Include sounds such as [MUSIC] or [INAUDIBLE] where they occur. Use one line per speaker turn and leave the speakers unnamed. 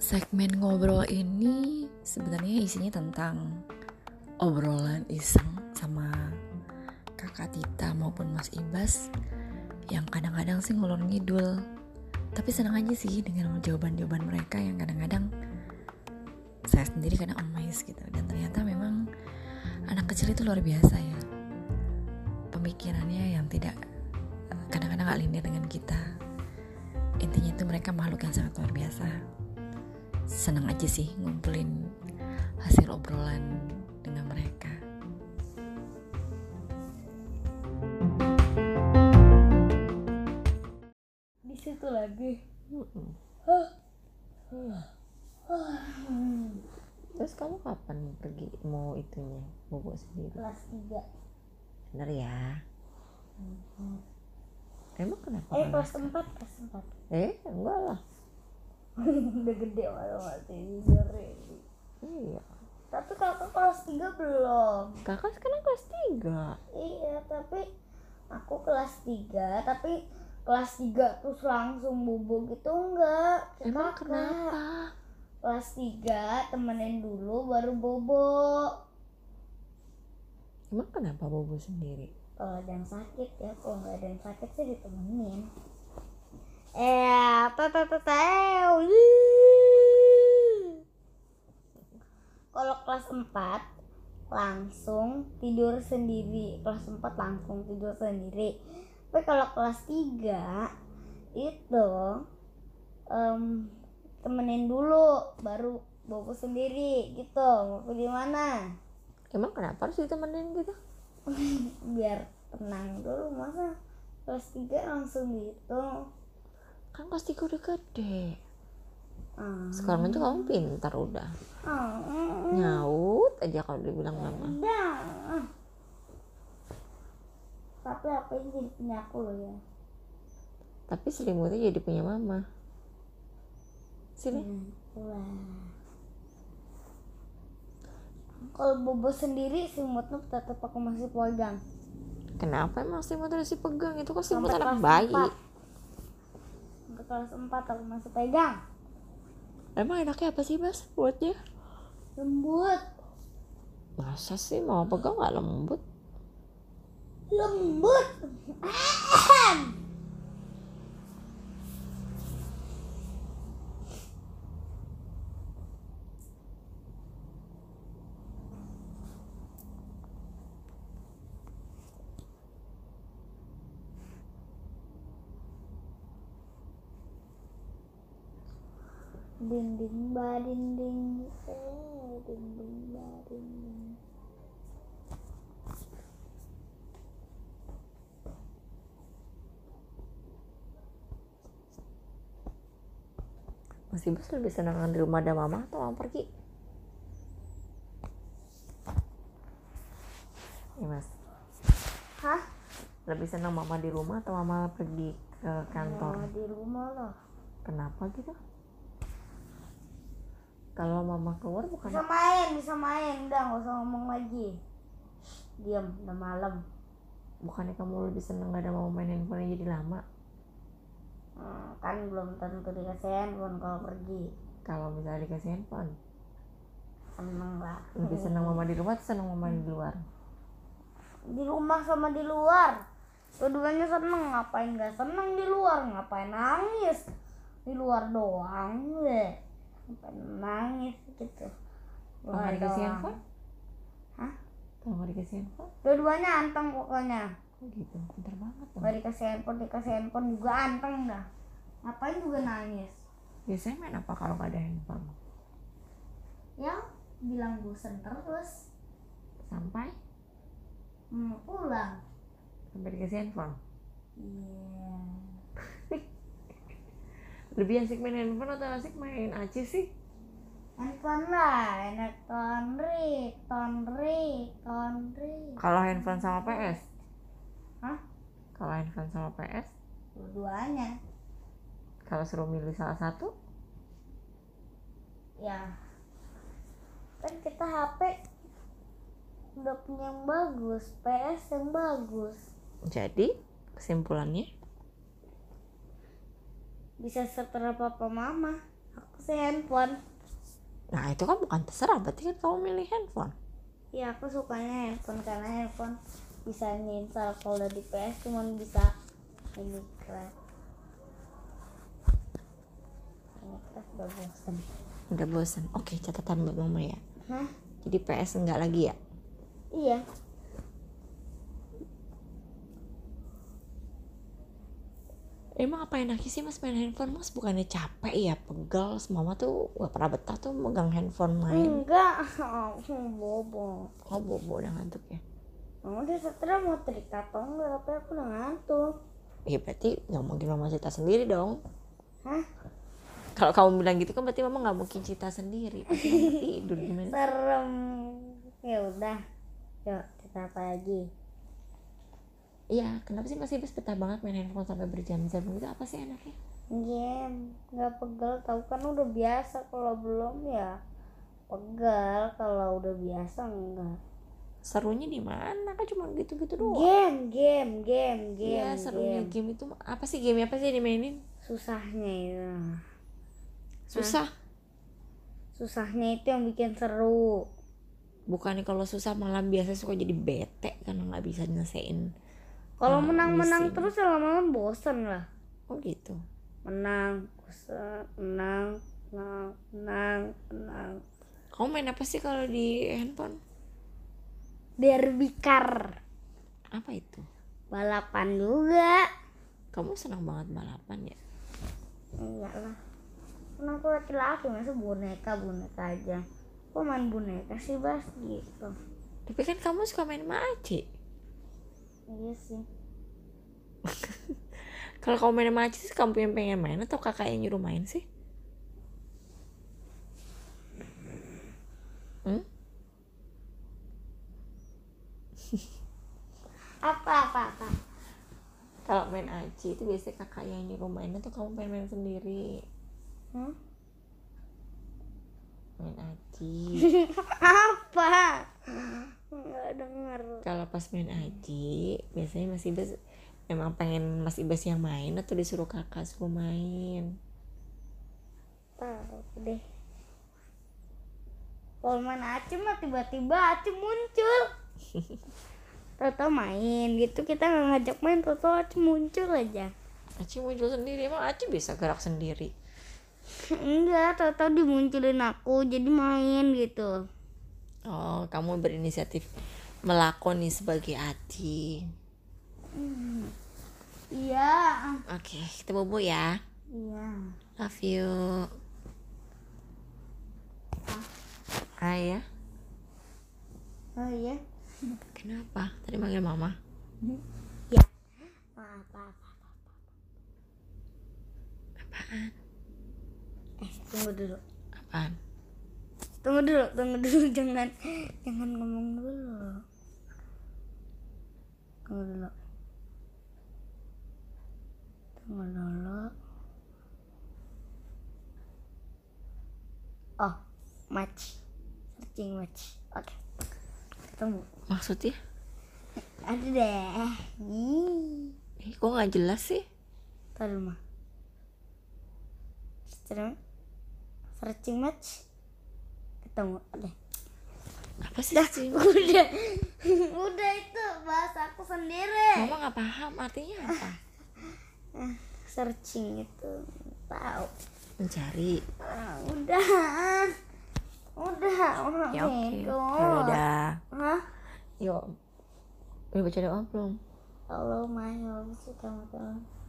Segmen ngobrol ini sebenarnya isinya tentang obrolan iseng sama kakak Tita maupun Mas Ibas yang kadang-kadang sih ngulur ngidul. Tapi senang aja sih dengan jawaban-jawaban mereka yang kadang-kadang saya sendiri kadang amazed gitu. Dan ternyata memang anak kecil itu luar biasa ya. Pemikirannya yang tidak eh, kadang-kadang gak linear dengan kita. Intinya itu mereka makhluk yang sangat luar biasa. Senang aja sih ngumpulin hasil obrolan dengan mereka.
Di situ lagi.
Terus kamu kapan mau pergi mau itunya bobo sendiri?
Kelas 3.
Bener ya. Emang kenapa?
Eh,
kamu-
kelas 4, kelas 4.
eh enggak lah.
[LAUGHS] Udah gede walau waktu ini jari.
Iya.
Tapi kakak kelas 3 belum.
Kakak sekarang kelas tiga.
Iya, tapi aku kelas 3, tapi kelas 3 terus langsung bubuk gitu enggak.
Emang
Kakak
kenapa?
Kelas 3 temenin dulu baru bobo.
Emang kenapa bobo sendiri?
kalau ada yang sakit ya kalau nggak ada yang sakit sih ditemenin eh apa apa apa Eh, tau. Ih. kalau kelas 4 langsung tidur sendiri kelas 4 langsung tidur sendiri tapi kalau kelas 3 itu em, temenin dulu baru bobo sendiri gitu mau di mana
Emang kenapa harus ditemenin gitu?
biar tenang dulu masa kelas 3 langsung gitu
Kan kelas tiga udah gede.
Hmm.
Sekarang aja kamu pintar udah.
Hmm.
Nyaut aja kalau dibilang
Mm-hmm.
mama.
Dah. tapi apa ini jadi punya aku loh ya
Tapi selimutnya jadi punya mama. Sini.
wah kalau bobo sendiri selimutnya tetap aku masih pegang
Kenapa emang selimut harus dipegang? Itu kan selimut
Mm-hmm. Sampai kelas
anak bayi.
empat. sampai kelas 4 aku masih pegang
Emang enaknya apa sih, Mas? Buatnya?
lembut
Masa sih mau pegang nggak lembut?
lembut dinding ba dinding eh dinding ba dinding
Mas Ibas lebih senang di rumah ada mama atau mau pergi? Ya, Mas.
hah
Lebih senang mama di rumah atau mama pergi ke
Oh,
kantor?
di rumah loh
Kenapa gitu? Kalau mama keluar
bisa
bukan
main bisa main udah nggak usah ngomong lagi diam udah malam
bukannya kamu lebih senang gak ada mama mainin phone jadi lama?
Hmm, kan belum tentu dikasih handphone kalau pergi
Kalau misalnya dikasih handphone,
seneng lah
lebih senang mama di rumah atau senang mama di luar?
[LAUGHS] di rumah sama di luar keduanya seneng ngapain nggak seneng di luar ngapain nangis di luar doang deh ngapain nangis gitu
Kalau nggak dikasih
doang.
handphone?
Hah?
Kalau nggak dikasih handphone?
dua-duanya anteng pokoknya
Oh gitu, pintar banget dong.
nggak dikasih handphone dikasih handphone juga anteng dah ngapain juga nangis
Biasanya main apa kalau nggak ada handphone?
yang bilang bosan terus
Sampai?
mau pulang
Sampai dikasih handphone?
iya
lebih asik main handphone atau asik main aci sih
handphone lah enak tonri tonri tonri
kalau handphone sama PS
Hah?
kalau handphone sama PS
dua-duanya
kalau suruh milih salah satu
ya kan kita HP udah punya yang bagus PS yang bagus
jadi kesimpulannya
bisa seterah papa mama aku sih handphone
nah itu kan bukan terserah berarti kan kamu milih handphone
ya aku sukanya handphone karena handphone bisa nginstal kalau di PS cuman bisa Minecraft Minecraft udah bosen
udah bosan oke catatan buat mama ya
Hah?
jadi PS enggak lagi ya
iya
emang apa enaknya sih mas main handphone mas bukannya capek ya pegel mama tuh gak pernah betah tuh megang handphone main
enggak bobo
oh bobo udah ngantuk ya
Mama udah setelah mau trik atau enggak tapi aku udah ngantuk
ya berarti nggak mungkin mama cerita sendiri dong
Hah?
kalau kamu bilang gitu kan berarti mama nggak mungkin cerita sendiri pasti mama tidur gimana
serem ya udah yuk kita apa lagi
iya kenapa sih masih Ibas betah banget main handphone sampai berjam-jam gitu apa sih
game
enaknya
Iya, nggak pegel tahu kan udah biasa kalau belum ya pegel kalau udah biasa enggak
serunya di mana kan cuma gitu-gitu doang
game game game game
Iya serunya
game.
game. itu apa sih game apa sih yang dimainin
susahnya itu
susah
susahnya itu yang bikin seru
bukannya kalau susah malam biasa suka jadi bete karena nggak bisa nyelesain
kalau
Ah,
menang-menang
missing.
terus ya lama-lama bosen lah
oh gitu
menang bosen menang menang menang menang
kamu main apa sih kalau di handphone
derby car
apa itu
balapan juga
kamu senang banget balapan ya
Enggak lah Kan aku laki-laki masa boneka boneka aja Kok main boneka sih Bas gitu
tapi kan kamu suka main sama Aci
Iya sih
kalau kamu main sama Aci sih kamu yang pengen main atau kakak yang nyuruh main sih hmm?
Apa apa [LAUGHS] apa
kalau main Aci itu biasanya kakak yang nyuruh main atau kamu pengen main sendiri
Hmm?
main Aci
Apa Enggak denger
kalau pas main aji biasanya Mas Ibas emang pengen Mas Ibas yang main atau disuruh kakak suruh main
Tahu deh Kalau main acem mah tiba-tiba acem muncul Toto main gitu kita nggak ngajak main Toto acem muncul aja [LAUGHS]
Aci muncul sendiri emang Aci bisa gerak sendiri
Enggak Toto dimunculin aku jadi main gitu
oh kamu berinisiatif melakoni sebagai Aci
Iya
oke kita bobo ya
Iya
love you ah ya
Oh iya?
kenapa tadi manggil mama
Ya. Maaf, maaf.
apaan
Eh, tunggu dulu.
apaan
Tunggu dulu, tunggu dulu [LAUGHS] jangan jangan ngomong dulu. Tunggu dulu. Tunggu dulu. Oh, match. Searching match. Oke. Ketemu.
maksudnya
Ada deh. Ih.
eh kok nggak jelas sih
Taruh mah. Sekarang searching match ketemu deh.
apa sih sih?
Udah. [LAUGHS] Udah itu bahasa aku sendiri.
mama nggak paham artinya apa
Searching itu tahu.
mencari
Ah, udah. Udah, orang
ya oke
itu.
ya udah
Hah?
yuk udah baca doa belum
Halo, Mas. Halo, sih kamu tuh.